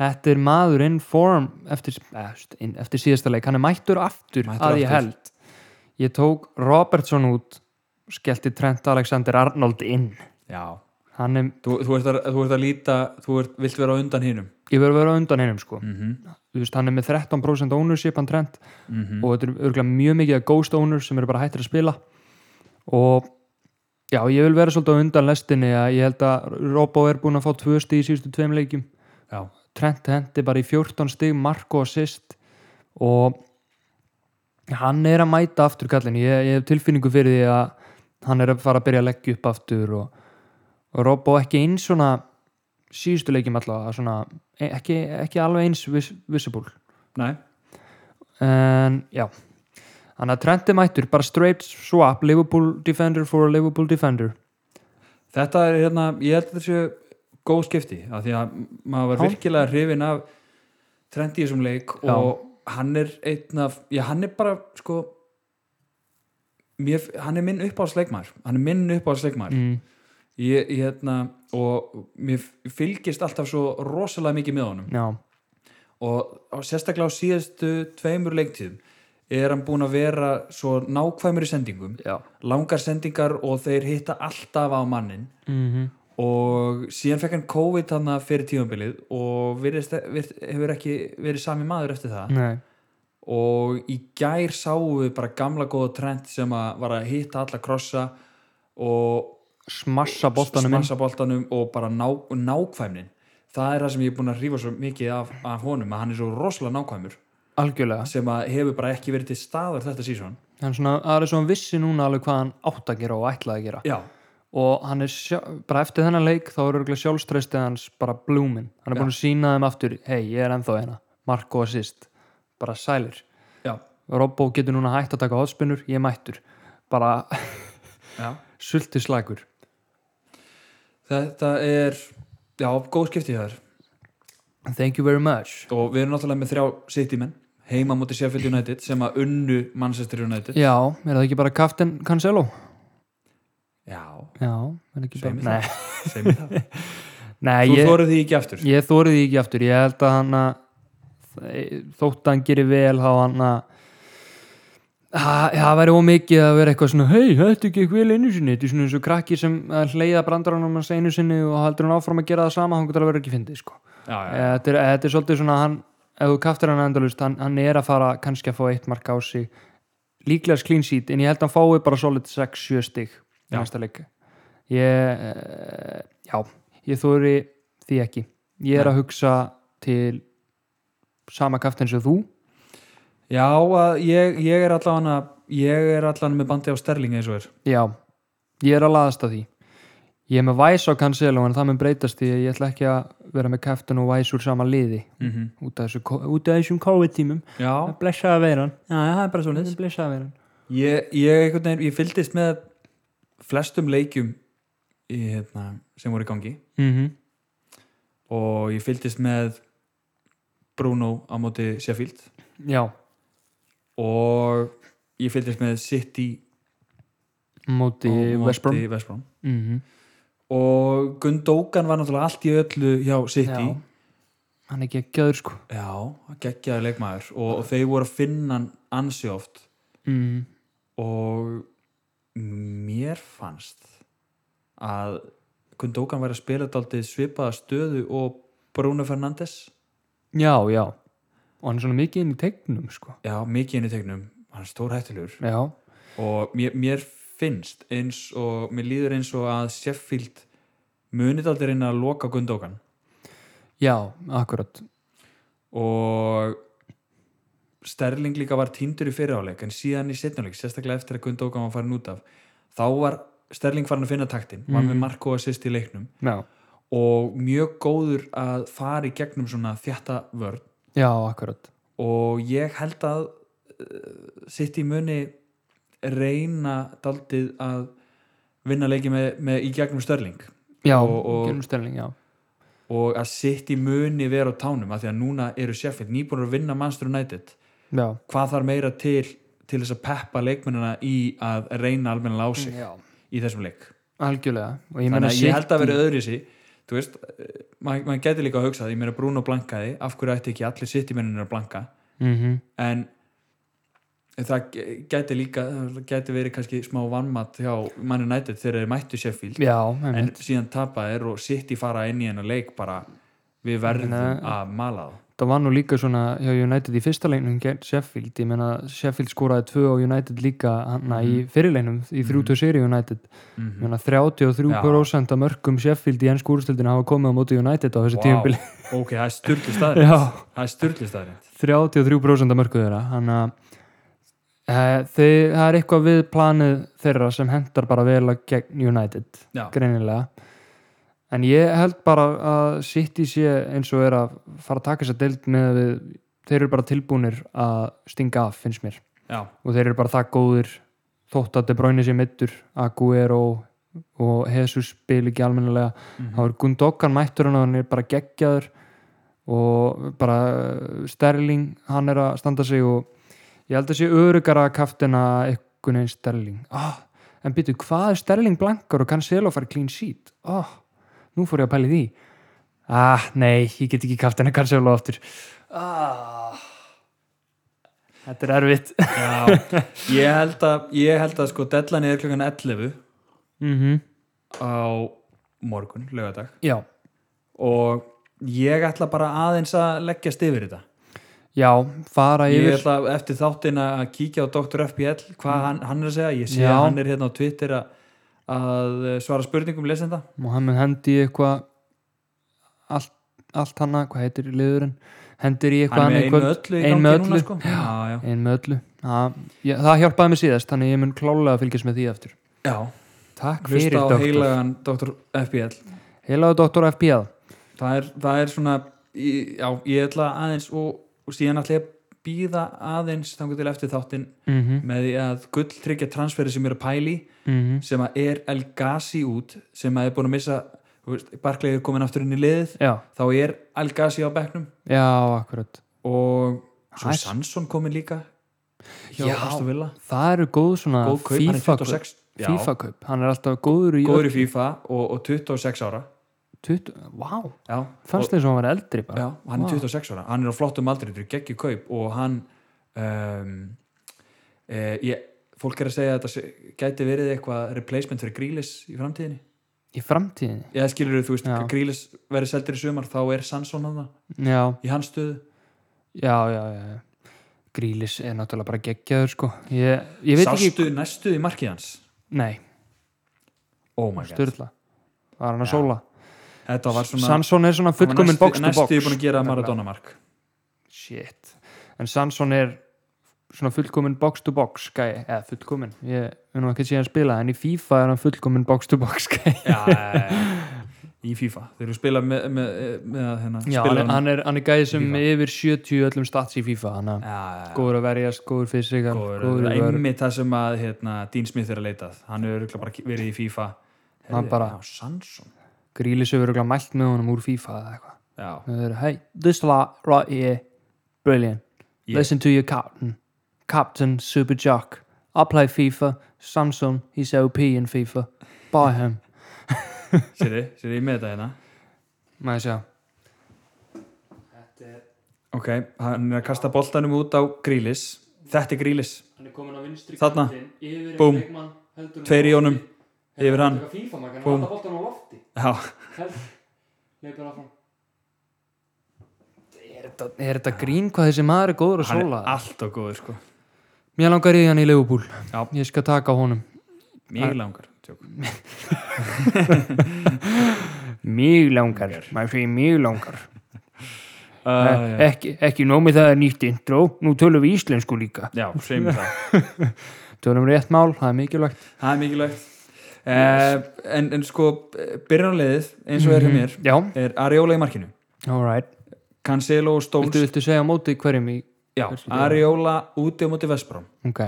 S2: þetta er maður in form eftir, eh, st- inn- eftir síðasta leik hann er mættur aftur
S1: Mættur
S2: að ég
S1: aftur.
S2: held Ég tók Robertson út skellti Trent Alexander Arnold inn
S1: já,
S2: hann er,
S1: þú, þú, ert að, þú ert að líta þú ert, vilt vera á undan hinnum
S2: ég verður að vera á undan einum sko
S1: mm -hmm.
S2: þú veist, hann er með 13% ownership hann trend
S1: mm -hmm.
S2: og þetta er örgulega mjög mikið að ghost owners sem eru bara hættir að spila og já, ég vil vera svolítið á undan lestinni að ég held að Robbo er búin að fá tvö stig í síðustu tveim leikjum
S1: já,
S2: Trent hendi bara í 14 stig Marko assist og hann er að mæta aftur kallin, ég, ég hef tilfinningu fyrir því að hann er að fara að byrja að leggja upp aftur og, og Robbo ekki eins svona síðustu leikjum allavega, svona, e, ekki, ekki alveg eins vis, visible
S1: næ,
S2: en já þannig að Trent er mættur, bara straight swap Liverpool defender for a Liverpool defender
S1: þetta er hérna ég held að þetta séu góð skipti af því að maður var
S2: Já.
S1: virkilega hrifin af Trent í þessum leik
S2: Já.
S1: og hann er einn af já, hann er bara sko mér, hann er minn uppáðsleikmaður hann er minn uppáðsleikmaður
S2: mm.
S1: ég, ég, hérna, og mér fylgist alltaf svo rosalega mikið með honum
S2: já,
S1: og, og sérstaklega á síðustu tveimur leiktíðum er hann búin að vera svo nákvæmur í sendingum
S2: já.
S1: langar sendingar og þeir hitta alltaf á mannin
S2: Mm -hmm.
S1: og síðan fekk hann COVID hann fyrir tímabilið og virðist, virð, hefur ekki verið sami maður eftir það
S2: Nei,
S1: og í gær sáum við bara gamla góða trend sem að var að hitta alla krossa og
S2: smassa boltanum inn
S1: smassa boltanum og bara ná, nákvæmnin það er það sem ég er búin að hrífa svo mikið af, af honum að hann er svo rosalega nákvæmur
S2: algjörlega,
S1: sem að hefur bara ekki verið til staðar þetta sísón
S2: hann svona, það er svona vissi núna alveg hvað hann átt að gera og ætlaði að gera
S1: já,
S2: og hann er, sjá, bara eftir þennan leik þá er örgulega sjálfstreystið hans bara blúmin hann er búin að sína þeim aftur, hei, ég er ennþá hérna Marko assist, bara sælir
S1: já,
S2: Robbo getur núna hægt að taka hotspinnur, ég er mættur bara
S1: já
S2: sultislagur
S1: þetta er, já, góð skipti þar
S2: Thank you very much
S1: og við erum náttúrulega með þrjá sittimenn heima mútið Sheffield United sem að unnu Manchester United
S2: Já, er það ekki bara Captain Cancelo?
S1: já,
S2: Já, er ekki
S1: Segðu
S2: bara
S1: mér segjum við það
S2: Nei, nei
S1: þú
S2: ég,
S1: þórið því ekki aftur
S2: ég þórið því ekki aftur Ég held að hann að þótt að hann gerir vel þá hann að Ha- það væri ómikið að vera eitthvað svona hei, þetta er ekki eitthvað vel einu sinni þetta er svona eins og krakki sem að hleyða brandaranum hans einu sinni og heldur hann áfram að gera það sama hann getur að vera ekki fyndið sko.
S1: já, já, já,
S2: þetta, er, þetta er svolítið svona hann, ef þú kaftir hann endalust hann, hann er að fara kannski að fá eitt mark á sig líklega clean sheet en ég held að hann fái bara solid 6-7 stig í
S1: Já.
S2: næsta leik ég, eh, já, ég þóri því ekki ég er
S1: Nei.
S2: að hugsa til sama kaftin sem þú
S1: já að ég, ég er allan að ég er allan með bandi á Sterling eins og er
S2: já, ég er að laðast að því ég er með væs á Cancelo en það mun breytast því að ég ætla ekki að vera með kaftin og væs úr sama liði
S1: mm
S2: út af, þessu, út af þessum COVID tímum
S1: já,
S2: blessaða veiran
S1: já, það er bara svo
S2: blessaða veiran
S1: ég, ég, einhvern veginn, ég fylgdist með flestum leikjum í, hérna, sem voru í gangi
S2: mm
S1: Mhm.
S2: -hmm.
S1: og ég fylgdist með Bruno á móti Sheffield
S2: já,
S1: og ég fylgdist með City
S2: móti
S1: á
S2: West Brom
S1: móti West Brom
S2: Mhm.
S1: og Gundókan var náttúrulega allt í öllu hjá City
S2: Já. hann er geggjaður sko
S1: já, geggjaði leikmaður og, og þeir voru að finna hann ansi oft Mhm.
S2: mm.
S1: og mér fannst að Gundókan væri að spila daldið svipaða stöðu og Bruno Fernandes
S2: já, já og hann er svona mikið inn í tegnum sko
S1: já, mikið inn í tegnum, hann er stór hættulegur
S2: já,
S1: og mér, mér finnst eins og, mér líður eins og að Sheffield munið aldrei reyna að loka Gundókan
S2: já, akkurat
S1: og Sterling líka var tindur í fyriráleik en síðan í setnuleik, sérstaklega eftir að Gundókan var farin út af, þá var Sterling farin að finna taktin, var með Marko assist í leiknum
S2: já,
S1: og mjög góður að fara í gegnum svona þjætta vörn
S2: já, akkurat
S1: og ég held að uh, sitt í muni reyna daldið að vinna leiki með, með í gegnum Sterling
S2: já,
S1: Og- og-
S2: Gjörnum Sterling, já
S1: og að sitt í muni vera á tánum að því að núna eru Sheffield nýbúinur að vinna Manchester United
S2: já,
S1: hvað þarf meira til til þess að peppa leikmennina í að reyna almenna á sig
S2: já.
S1: í þessum leik
S2: algjörlega og Mhm. ég
S1: þannig
S2: meina
S1: að ég held að
S2: City-
S1: vera öðru sér þú veist, eh, maður mað getur líka að hugsa því, ég meina Bruno blankaði, af hverju ætti ekki allir sittimennir að blanka,
S2: Mhm.
S1: en það getur líka getur verið kannski smá vannmatt hjá Man United þegar þeir mættu Sheffield
S2: já,
S1: en
S2: en,
S1: síðan tapa þeir og sitt fara inn í hennar leik bara við verðum
S2: Nei.
S1: að mala það
S2: það var nú líka svona hjá United í fyrsta leiknum gegn Sheffield, ég meina Sheffield skoraði tvö og United líka hann í fyrirleiknum í 30 seri United
S1: Mhm.
S2: ég meina 33% af mörgum Sheffield í enn skúrstöldinu hafa komið á móti United á þessu wow. tíumbili
S1: ok, það er styrlu staðrind
S2: já,
S1: það er styrlu staðrind
S2: 33% af mörgum þeirra þannig að eh, þið- það er eitthvað við planið þeirra sem hendar bara vel að gegn United
S1: Já.
S2: greinilega en ég held bara að City sé eins og er að fara að taka þess að deild með að við, þeir eru bara tilbúnir að stinga af finnst mér
S1: já,
S2: og þeir eru bara það góðir þótt að De Bruyne sé mittur Aguero og Jesus spil ekki almennilega
S1: Mhm.
S2: þá er Gundogan mættur hann og hann er bara geggjaður og bara uh, Sterling hann er að standa sig og ég held að sé örugara kaftina einhvern veginn Sterling oh, en býtu hvað er Sterling blankar og kann sel og fara clean sheet oh, nú fór ég að pæli því ah nei, ég get ekki kaftina kann sel og aftur ah, þetta er erfitt
S1: já. ég held að ég held að sko dellan er klukkan 11
S2: mhm
S1: á morgun, lögadag
S2: Já,
S1: og ég ætla bara aðeins að leggjast yfir þetta
S2: já, fara
S1: ég
S2: yfir Mm.
S1: ætla eftir þáttinn að kíkja á Dr. FBL hvað hann, hann er að segja, ég sé
S2: Já.
S1: að hann er hérna á Twitter að, að svara spurningum lesenda
S2: og hann mun hendi í eitthvað allt, allt hana, hvað heitir liðurinn hendir í eitthvað
S1: hann er
S2: annað
S1: með einu
S2: í kvöld.
S1: öllu í
S2: Ein
S1: gangi
S2: með
S1: núna
S2: öllu.
S1: sko já, já.
S2: ein með öllu það, ég, það hjálpaði mér síðast, þannig að ég mun klálega að fylgjast með því aftur
S1: já,
S2: Takk fyrir
S1: hlusta á
S2: doktor heila...
S1: heilagan Dr. FBL
S2: heilaðu doktor FBL
S1: það er, það er svona í- já, ég ætla aðeins og, og síðan ætla ég að býða aðeins þangur til eftir þáttinn
S2: mm -hmm.
S1: með því að gulltryggja transferi sem ég er að pæli sem að er El Gassi út sem að er búin að missa þú veist, Barclay er komin aftur inn í liðið
S2: Já,
S1: þá er El Gassi á bekknum
S2: já, akkurat
S1: og svo
S2: Hæ?
S1: Sansson komin líka hjá
S2: Já. Ah,
S1: Aston Villa
S2: það eru góð svona
S1: góð kaup, hann er
S2: FIFA
S1: 26 já,
S2: FIFA kaup, hann er alltaf góður í
S1: góður í FIFA og, og 26 ára
S2: 20... Vá,
S1: já,
S2: fannst
S1: og,
S2: þið sem hann var eldri bara
S1: já, hann
S2: Vá.
S1: er 26 ára hann er á flottum aldri, þetta er geggjur kaup og hann um, e, ég, fólk er að segja að þetta sé- gæti verið eitthvað replacement fyrir Grílis í framtíðinni
S2: í framtíðinni
S1: eða skilur þú veist,
S2: Já.
S1: Grílis verið seldur í sumar þá er Sansson hann
S2: Já,
S1: í hans stöðu
S2: já, já, já já. Grílis er náttúrulega bara geggjaður sko ég, ég veit
S1: Sástu
S2: ekki
S1: næstu í markið hans
S2: nei,
S1: Oh my god
S2: styrla, var hann að sóla
S1: Þetta var svona
S2: Sansson er svona
S1: hann var
S2: fullkomin
S1: næstu-
S2: box to
S1: Næstu ég búin að
S2: box
S1: gera
S2: Nefnilega.
S1: Maradona mark
S2: shit, en Sansson er svona fullkomin box to box gæi, eða fullkomin, ég mun nú ekki sé hann spila, en í FIFA er hann fullkomin box to box gæi
S1: Já, já, já, já. í FIFA þeir eru spilað með, með, með að, hérna,
S2: Já,
S1: spila
S2: hann, hann er, hann er gæði sem
S1: FIFA.
S2: yfir 70 öllum stats í FIFA hann er
S1: já, já,
S2: góður að verjast, góður fysikal
S1: góður,
S2: góður í vörn
S1: einmitt það sem að hérna, Dean Smith er að leitað hann er örugglega bara verið í FIFA
S2: Hann bara-
S1: já, Sanson
S2: Grílis hefur örugglega mælt með honum úr FIFA eða eitthvað
S1: já,
S2: Það eru, hey, this lot right here brilliant,
S1: Yeah.
S2: listen to your captain captain super jock I play FIFA, Samsung he's OP in FIFA, buy him
S1: sérði, sérði ég með þetta hérna
S2: maður sjá
S1: ok, hann er að kasta boltanum út á Grílis þetta er Grílis,
S2: hann er komin á vinstri
S1: Þarna.
S2: kantinn, yfir
S1: Búm.
S2: einhvern leikmann, heldur hann
S1: Tveir í
S2: á
S1: honum.
S2: lofti. Hérna,
S1: Yfir hann.
S2: hann tekur FIFA, maður, hann
S1: Búm.
S2: er alltaf boltan á lofti
S1: já,
S2: leipur áfram er þetta, er þetta grín hvað þessi maður er góður að
S1: hann
S2: sóla
S1: er allt og góður sko
S2: mér langar í hann í Leifupúl
S1: Já.
S2: ég skal taka á honum
S1: mjög langar tjók.
S2: mjög langar, maður segir mjög langar Ah,
S1: Uh, já,
S2: Eh, ekki, ekki nómið það er nýtt intro nú tölum við íslensku líka
S1: já, segjum við það
S2: tölum við rétt mál, það er mikilvægt
S1: það er mikilvægt uh, en, en sko, byrjanleðið eins og er hjá mér
S2: já,
S1: er Ariola í markinu
S2: alright
S1: Cancelo og Stóls
S2: viltu, viltu segja á móti hverjum í
S1: Já, Ariola úti á móti Vestbrám
S2: ok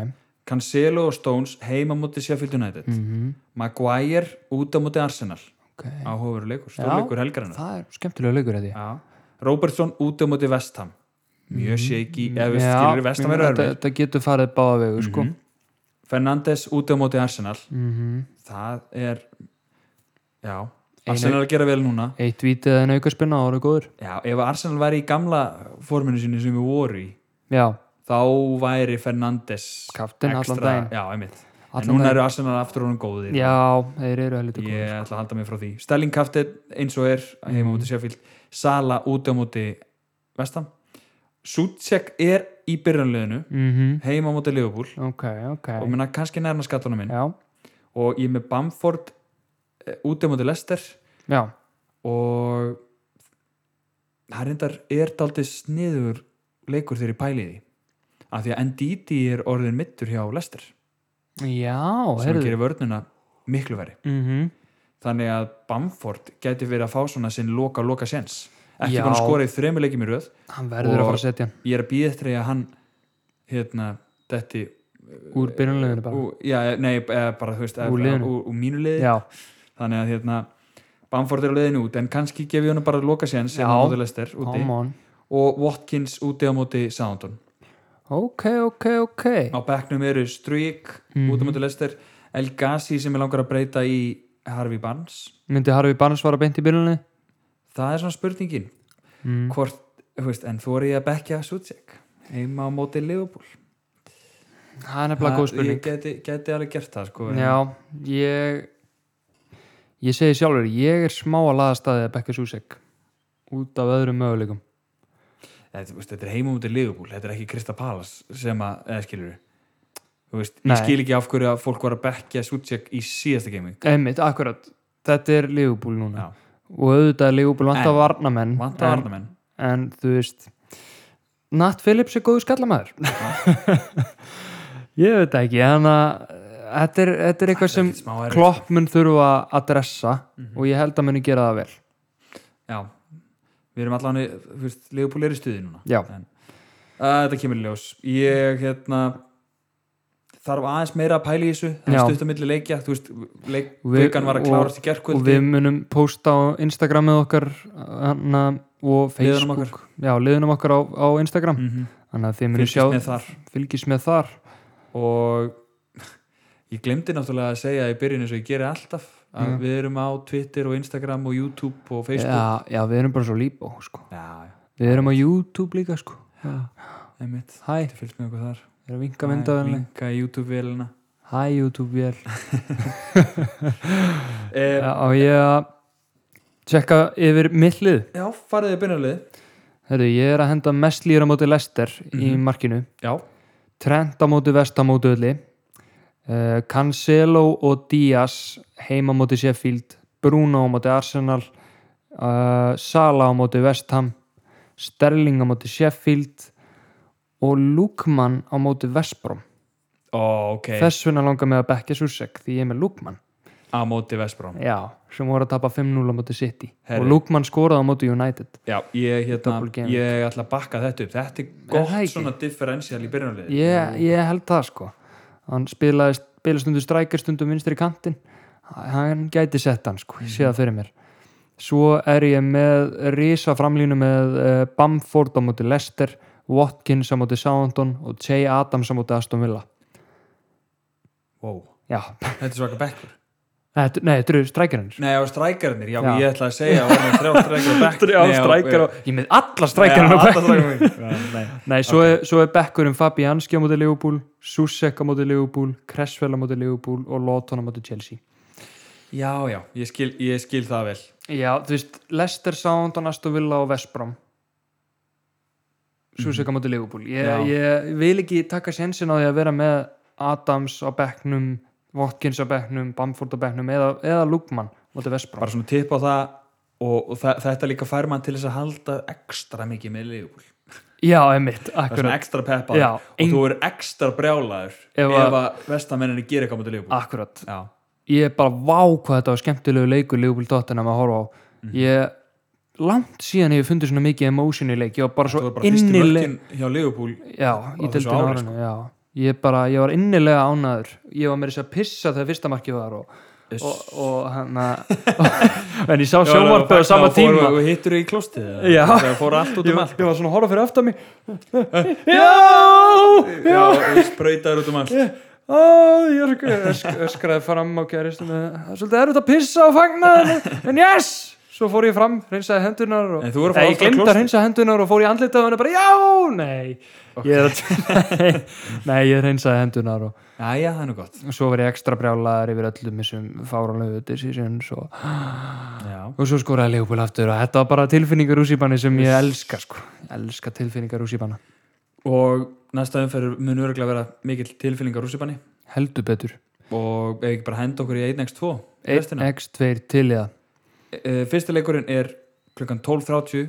S1: Cancelo og Stones heima á móti Sheffield United
S2: Mhm.
S1: Maguire úti á móti Arsenal
S2: ok
S1: áhugaveru leikur,
S2: Já.
S1: stórleikur helgarinnar
S2: það er skemmtilega lögur eða
S1: Já. Robertson úti á móti Vestham mjög shaky, ef við
S2: Já,
S1: skilur Vestham
S2: meina,
S1: er
S2: þetta,
S1: örfið
S2: þetta getur farið báða vegu sko.
S1: Fernandes úti á móti Arsenal
S2: mm
S1: það er já, Arsenal er að gera vel núna
S2: eitt vítið eða en aukarspinna ára góður
S1: já, ef Arsenal væri í gamla forminu sinni sem við voru í
S2: já,
S1: þá væri Fernandes
S2: Kapteinn allan
S1: extra-
S2: daginn.
S1: já, einmitt en
S2: Allan
S1: núna
S2: daginn.
S1: eru Arsenal aftur honum góðir
S2: já, þeir eru heldur góður
S1: ég ætla að halda mig frá því Stelling kaftir eins og er heima
S2: Mhm.
S1: á móti Sheffield Sala út á móti Vestam Sutsek er í byrjanleginu
S2: mm
S1: heima á móti Liverpool
S2: ok, ok
S1: og minna kannski nærna skattunum minn
S2: já,
S1: og ég er með Bamford eh, út á móti Lester
S2: já,
S1: og það reyndar er daldið sniður leikur þegar ég pæli í því af því að NDD er orðin mittur hjá Lester
S2: já,
S1: sem
S2: heyrðu
S1: gerir vörnina miklu veri
S2: mm
S1: þannig að Bamford gæti verið að fá svona sinn loka loka sens ekki
S2: Já.
S1: búin að skora í þremur leikjum í röð
S2: hann verður að
S1: Og-
S2: fara að setja hann
S1: ég er að býða eftir því að hann hérna, detti
S2: úr byrjunleginu bara
S1: ú, já, nei, eða bara þú veist eða-
S2: Úr liðinu.
S1: úr, úr mínu liði
S2: já,
S1: þannig að hérna, Bamford er á liðinu út en kannski gefi hann bara loka sens
S2: Já.
S1: hérna á móti Leicester úti.
S2: come on
S1: og Watkins úti á móti Soundon
S2: ok, ok, ok
S1: á bekknum eru Stryk
S2: Mhm.
S1: út á móti Leicester El Gassi sem er langar að breyta í Harvey Barnes
S2: myndi Harfi Barnes fara beint í byrjunleginu
S1: það er svona spurningin
S2: Mm.
S1: hvort, þú veist, en þú er ég að bekja Sutsek heima á móti Liverpool
S2: það er nefnilega góð
S1: ég
S2: spurning
S1: geti, geti alveg gert það sko en-
S2: já, ég ég segi sjálfur, ég er smá að laða staðið að Bekka Susek út af öðrum möguleikum
S1: þetta, þú veist, þetta er heima á móti Liverpool, þetta er ekki Krista Palas sem að, eða skilur þú veist,
S2: Nei.
S1: ég skil ekki af hverju að fólk var að bekja Sutsek í síðasta gaming
S2: einmitt, akkurat, þetta er Leopold núna
S1: Já.
S2: og auðvitað er Leopold vantar
S1: En-
S2: varnamenn
S1: vanta
S2: Mhm. en-
S1: varnamenn
S2: en þú veist Nat Phillips er góðu skallamæður ég veit það ekki hann að eh, þetta er, þetta er eitthvað sem
S1: ekkert smá erfitt.
S2: klopp mun þurfa að dressa
S1: Mhm.
S2: og ég held að muni gera það vel
S1: já, við erum allan í- þú veist, Liverpool er í stuði núna
S2: já,
S1: en, að, þetta kemur í ljós ég, hérna þarf aðeins meira að pæla í þessu það
S2: Já.
S1: er stutt á milli leikja, þú veist leik,
S2: Við-
S1: vikan var að
S2: og-
S1: klárast í
S2: og
S1: gerkvöldi
S2: við munum posta á Instagramið okkar hana, og
S1: Liðunum
S2: Facebook já, liðunum okkar á, á Instagram
S1: mm -hmm.
S2: þannig að þið munum
S1: fylgist
S2: sjá
S1: með þar
S2: fylgist með þar
S1: og ég glemdi náttúrulega að segja í byrjun eins og ég geri alltaf að
S2: Mhm.
S1: við erum á Twitter og Instagram og YouTube og
S2: já,
S1: Facebook
S2: já, við erum bara svo líbó sko.
S1: já, já,
S2: við erum á YouTube líka sko.
S1: einmitt
S2: hæ,
S1: þetta fylgst með okkur þar
S2: við erum vinka myndaðanlega
S1: linka í YouTube-vélina
S2: hæ YouTube-vél
S1: eh,
S2: á ég að tjekka yfir millið
S1: já, fariði byrjunarlið
S2: Herru, ég er að henda mest lýra móti Lester í
S1: Mhm.
S2: markinu
S1: já,
S2: Trent á móti Vest á móti Ölli uh, Cancelo og Díaz heima á móti Sheffield Bruno á móti Arsenal uh, Sala á móti Vestham Sterling á móti Sheffield og Lukman á móti Vestbrom
S1: ó, ok
S2: þess vegna langar mig að bekka Susek því ég er með Lukman
S1: á móti Vestbrám
S2: já, sem voru að tapa 5-0 á móti City
S1: Herri.
S2: og Lukman skoraði á móti United
S1: Já, ég,
S2: Double
S1: hérna,
S2: game.
S1: ég ætla að bakka þetta upp þetta er
S2: það
S1: gott
S2: ekki?
S1: svona differential í byrjunarliði
S2: ég, ég held það sko hann spilaði, spilaði stundu strækir stundu vinstri kantinn hann gæti sett hann sko, ég sé það fyrir mér svo er ég með risa framlínu með uh, Bamford á móti Leicester, Watkins á móti Soundon og Jay Adams á móti Aston Villa
S1: wow.
S2: já,
S1: Þetta er svaka bekkur
S2: þetta, nei, þetta eru strækirinn
S1: Nei, á strækjarnir, já,
S2: Já.
S1: ég ætla að segja að það er þrjá strækjar og
S2: ég er með alla strækirinn á bekk
S1: strækjarnir
S2: Nei, svo, er, svo er bekkurinn Fabianski á móti Leopold, Susek á móti Leopold Cresswell á móti Leopold og Lawton á móti Chelsea
S1: Já, já, ég skil, ég skil það vel
S2: Já, þú veist, Leicester, Soundon, Aston Villa og Vestbrom Susek á móti Leopold ég,
S1: Mhm. Já.
S2: ég vil ekki taka sensin á því að vera með Adams á bekknum Watkins á bekknum, Bamford á bekknum eða, eða Lugman móti Vestbrom
S1: bara svona tipp á það og, og þa þetta líka fær mann til þess að halda ekstra mikið með Leopold
S2: Já,
S1: það er
S2: emitt,
S1: svona
S2: akkurat
S1: ekstra peppar
S2: Já,
S1: og þú er ekstra brjálaður ef,
S2: Ef að- Ah.
S1: að vestamenninni gerir eitthvað mútið Leopold
S2: Akkurat,
S1: já,
S2: ég er bara vá hvað þetta var skemmtilegu leikur Leopold Tottenham að horfa á
S1: Mhm.
S2: ég, langt síðan ég hef fundið svona mikið emotion í leik, ég var bara
S1: það
S2: svo
S1: var bara fyrst í
S2: innileg
S1: mörkin hjá Leopold
S2: já, í
S1: þessu
S2: deildinu
S1: ári, sko.
S2: árinu já. ég bara, ég var innilega ánaður ég var með þess að pissa þegar fyrsta markið var og, og, og hann en ég sá sjónvarpið á sama tíma
S1: og hittur í klostið eða?
S2: Já.
S1: það fór allt út
S2: ég,
S1: um
S2: var-
S1: allt
S2: ég var svona að horfa fyrir aftan mig já, já
S1: já, spröytar út um allt
S2: Ó, ég er sko ösk- öskraði fram á gerist það er svolítið erfitt að pissa og fagna en, en yes, svo fór ég fram hreinsaði hendunar og
S1: En þú voru að fara
S2: Nei,
S1: oft
S2: ég
S1: á
S2: glemd
S1: klósett.
S2: að hreinsa hendunar og fór í andlitað og hann er bara já, nei ég er að nei, ég hreinsaði hendunar og,
S1: já, já, það er nú gott
S2: og svo var ég ekstra brjálaðar yfir öllum þessum fáranlegu decisions og,
S1: já,
S2: og svo skoraði Leopold aftur og þetta var bara tilfinningar úr síbanni sem ég elska sko, ég elska tilfinningar úr síbanna
S1: og næsta umferður mun örgulega vera mikill tilfyllingar rússipanni
S2: heldur betur
S1: og ef ekki bara henda okkur í 1x2 restina.
S2: 1x2 til í það
S1: Eh, fyrsti leikurinn er klukkan 12.30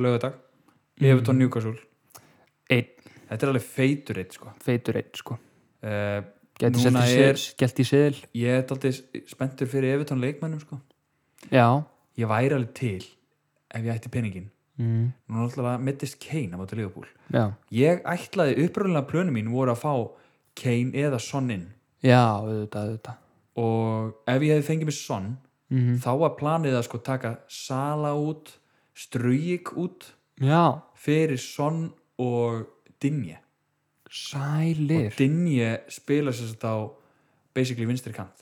S1: lögadag Evertón Newcastle
S2: einn,
S1: þetta er alveg feitur eitt sko.
S2: feitur einn sko
S1: uh,
S2: Gæti
S1: Núna er-
S2: skellt í seðil
S1: ég er aldrei spenntur fyrir Evertón leikmennum sko.
S2: Já
S1: ég væri alveg til ef ég ætti peningin
S2: mm.
S1: núna alltaf mittist Kane á móti Liverpool
S2: Já,
S1: ég ætlaði uppröðulega plönum mín voru að fá Kane eða Son inn
S2: já, auðvitað, auðvitað
S1: og ef ég hefði fengið mér Son
S2: mm
S1: þá var planið að sko taka Sala út Strujik út
S2: Já,
S1: fyrir Son og Dinje
S2: sælir
S1: Dinje spila sér þetta á basically vinstri kant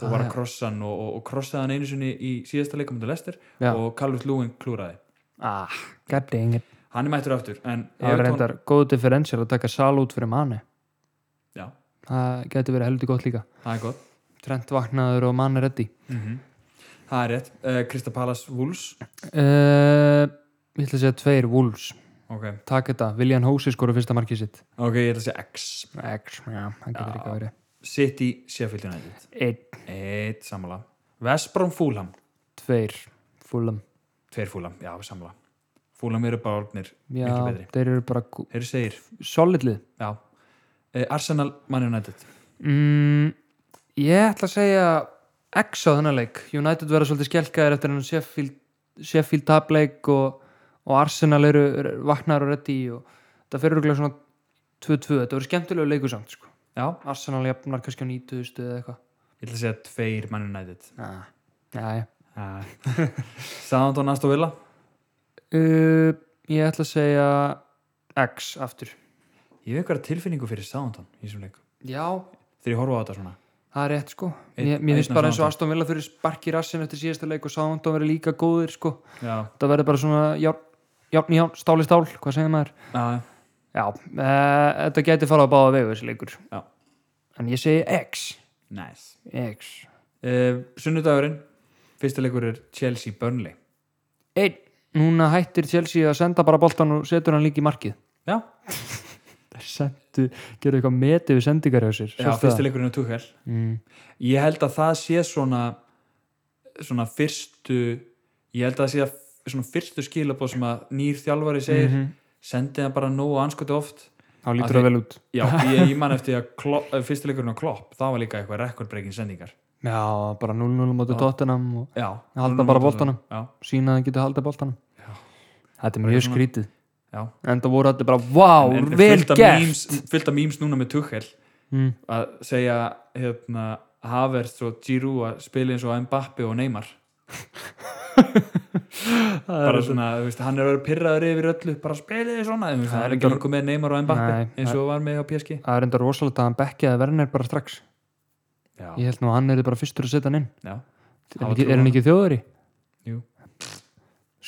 S2: Ah,
S1: og var að krossa hann og, og, og krossaði hann einu sinni í síðasta leikum til Lester
S2: Já.
S1: og Calvert Lúin klúraði
S2: Ah, gæti engin
S1: hann er mættur aftur en
S2: Það er
S1: Everton-
S2: reyndar góð differential að taka sal út fyrir manni
S1: já,
S2: Það gæti verið heldur gott líka
S1: það er gott
S2: Trent vaknaður og manni reddi
S1: það er rétt, uh, Krista Palas Wolves
S2: uh, Ég ætla að segja tveir Wolves
S1: ok,
S2: Takk þetta, William Hósi skora fyrsta markið sitt
S1: ok, ég ætla að segja X
S2: X, já, hann getur
S1: Já.
S2: ekki að verið
S1: City Sheffield United
S2: Einn,
S1: eitt samla, Vesbrón Fúlham
S2: tveir, fullum
S1: tveir Fúlham, já samla Fúlham eru bara orðnir
S2: Já,
S1: miklu betri
S2: þeir eru bara gú-
S1: þeir eru segir,
S2: solidlið
S1: já uh, Arsenal Man United
S2: Mm, ég ætla að segja X á þennan leik United verða svolítið skelkaðir eftir hann Sheffield, Sheffield tapleik og, og Arsenal eru eru vaknaðar og reddi í og það fyrir örugglega svona 2-2, þetta voru skemmtilegu leikusamt sko.
S1: já,
S2: Arsenal jafnar kannski á 90 eða eitthvað
S1: Ég ætla að segja tveir Man United
S2: Næ, næ
S1: Sáðan og Aston Villa
S2: uh, Ég ætla að segja X aftur
S1: Ég hef eitthvað tilfinningu fyrir Sáðan í þessum leik
S2: Já,
S1: Þegar ég horfa á þetta svona
S2: það er rétt sko
S1: Einn-
S2: Mér, mér finnst
S1: einn af
S2: bara eins og
S1: Southampton.
S2: Aston Villa fyrir sparki rassin eftir síðasta leik og Southampton verið líka góðir sko
S1: Já,
S2: það verður bara svona járn, járn í járn, stál í stál, hvað segir maður
S1: já,
S2: já, e, þetta gæti fara á báða vegu þessi leikur
S1: Já.
S2: en ég segi X
S1: næs
S2: X,
S1: uh, Sunnudagurinn Fyrsta leikur er Chelsea Burnley
S2: einn, núna hættir Chelsea að senda bara boltan og setur hann líka í markið
S1: Já,
S2: þeir sendu, gerðu eitthvað meti við sendingar hjá sér,
S1: já fyrsta leikurinn er Tuchel
S2: mm.
S1: Ég held að það sé svona svona fyrstu ég held að það sé að svona fyrstu skilabóð sem að nýr þjálfari segir mm
S2: Mhm.
S1: sendi hann bara nógu anskoti oft
S2: þá
S1: Að
S2: lítur
S1: þeir-
S2: það vel út
S1: Já, ég, ég man eftir að klopp, fyrsta leikurinn á Klopp það var líka eitthvað rekordbrekin sendingar
S2: já, bara 0-0 móti
S1: Já.
S2: tóttunum og
S1: já,
S2: halda bara boltanum
S1: já,
S2: sína að hann getur halda boltanum
S1: Já.
S2: þetta er
S1: Bara
S2: mjög
S1: svona-
S2: skrítið
S1: já.
S2: en það voru allir bara, vá,
S1: En- en
S2: vel
S1: fullt af
S2: gert
S1: memes- fullt af memes núna með Tuchel
S2: Mm.
S1: að segja hérna, Havertz og Giroud að spila eins og Mbappi og Neymar
S2: Það er
S1: bara svona, þú veist, hann er að vera pyrraður yfir öllu bara spiliði svona, þú veist, það er ekki
S2: Reyndar-
S1: lengur með Neymar og
S2: Nei,
S1: Mbappi eins og var með á PSG
S2: það er enda rosalega að hann bekkjaði verðinir bara strax
S1: já,
S2: ég held nú að hann er bara fyrstur að setja hann inn
S1: já.
S2: er,
S1: Hafa trú á
S2: ekki, er hann
S1: honum.
S2: ekki þjóðari?
S1: Jú.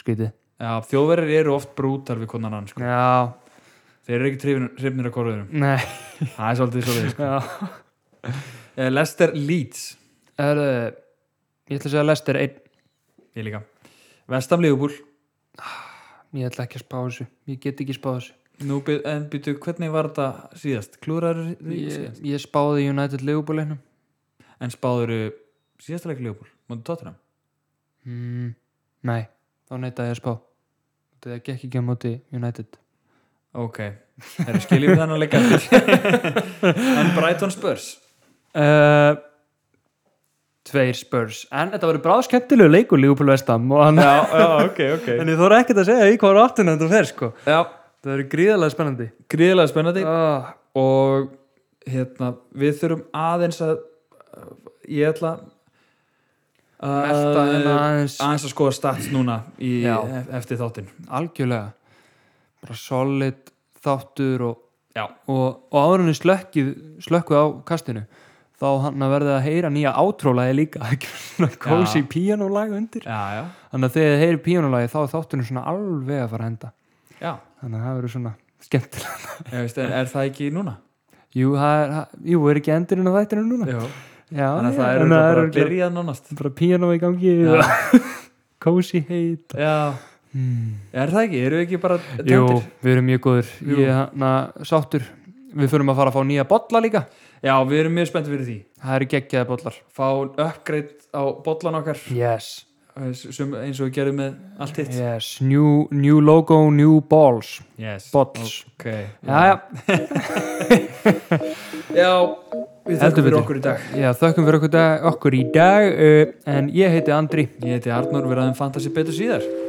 S2: skrítið
S1: já þjóðverðir eru oft brútar við konan hann sko.
S2: já,
S1: þeir eru ekki hrifnir- hrifnir að korðurum
S2: nei
S1: það er svolítið svolítið sko.
S2: já.
S1: Eh, Leicester Leeds,
S2: Er, ég ætla að segja að Lester einn
S1: ég líka Vestam Leopold
S2: ég ætla ekki að spá þessu, ég get ekki spá þessu
S1: Nú, by- en býtu, hvernig var þetta síðast? Klúraður
S2: ég,
S1: síðast?
S2: ég spáði United Leopoldinu
S1: En spáður síðastalega Leopold? Máttu Tottenham?
S2: mm, nei, þá neitaði ég að spá það gekk ekki á móti United
S1: Ok, það er skiljum þannig að leika eftir En Brighton Spurs
S2: uh, tveir Spurs en þetta voru bráðskeptilegu leikur Leopold Vestam og hann
S1: Já, já, ok, ok
S2: En ég þóra ekkert að segja í hvaða áttuna þetta fer sko
S1: Já,
S2: Það verður gríðarlega spennandi
S1: gríðilega spennandi
S2: oh,
S1: Og hérna, við þurfum aðeins að Ég ætla að
S2: Melta hérna aðeins
S1: aðeins að skoða stats núna í,
S2: Já.
S1: eftir þáttinn
S2: Algjörlega Bara solid þáttur og,
S1: Já.
S2: og, og árunni slökkið slökkuð á kastinu þá hann að verða að heyra nýja átrólagi líka ekki svona kósi píanólag undir
S1: Já, já,
S2: þannig að þegar þið heyri píanólagi þá er þátturinn svona alveg að fara að henda
S1: já
S2: þannig að það verður svona skemmtilega
S1: Ég veist, er, er það ekki núna?
S2: Jú, það er, það- jú, er ekki endurinn á þættinu núna
S1: Já,
S2: Já,
S1: þannig að
S2: já,
S1: það er
S2: þannig að
S1: bara
S2: örugglega-
S1: að byrja nánast
S2: bara píanó í gangi
S1: Já.
S2: kósi heit
S1: Já, er það ekki? Eru ekki bara
S2: Jú,
S1: tengdir?
S2: við erum mjög góður
S1: Hmm. Jú.
S2: ég hana sáttur við förum að fara að fá nýja bolla líka
S1: Já, við erum mjög spennt fyrir því
S2: það eru geggjaði bollar
S1: Fá upgrade á bollan okkar
S2: yes,
S1: eh, sem, eins og við gerum með allt hitt
S2: yes. New, new logo, new balls
S1: yes.
S2: balls
S1: Ok
S2: Já,
S1: Já, við
S2: Heldur
S1: þakkum fyrir
S2: betur.
S1: okkur í dag
S2: já, þökkum fyrir okkur, dag, okkur í dag uh, en ég heiti Andri
S1: Ég heiti Arnur, við ræðum Fantasy betur síðar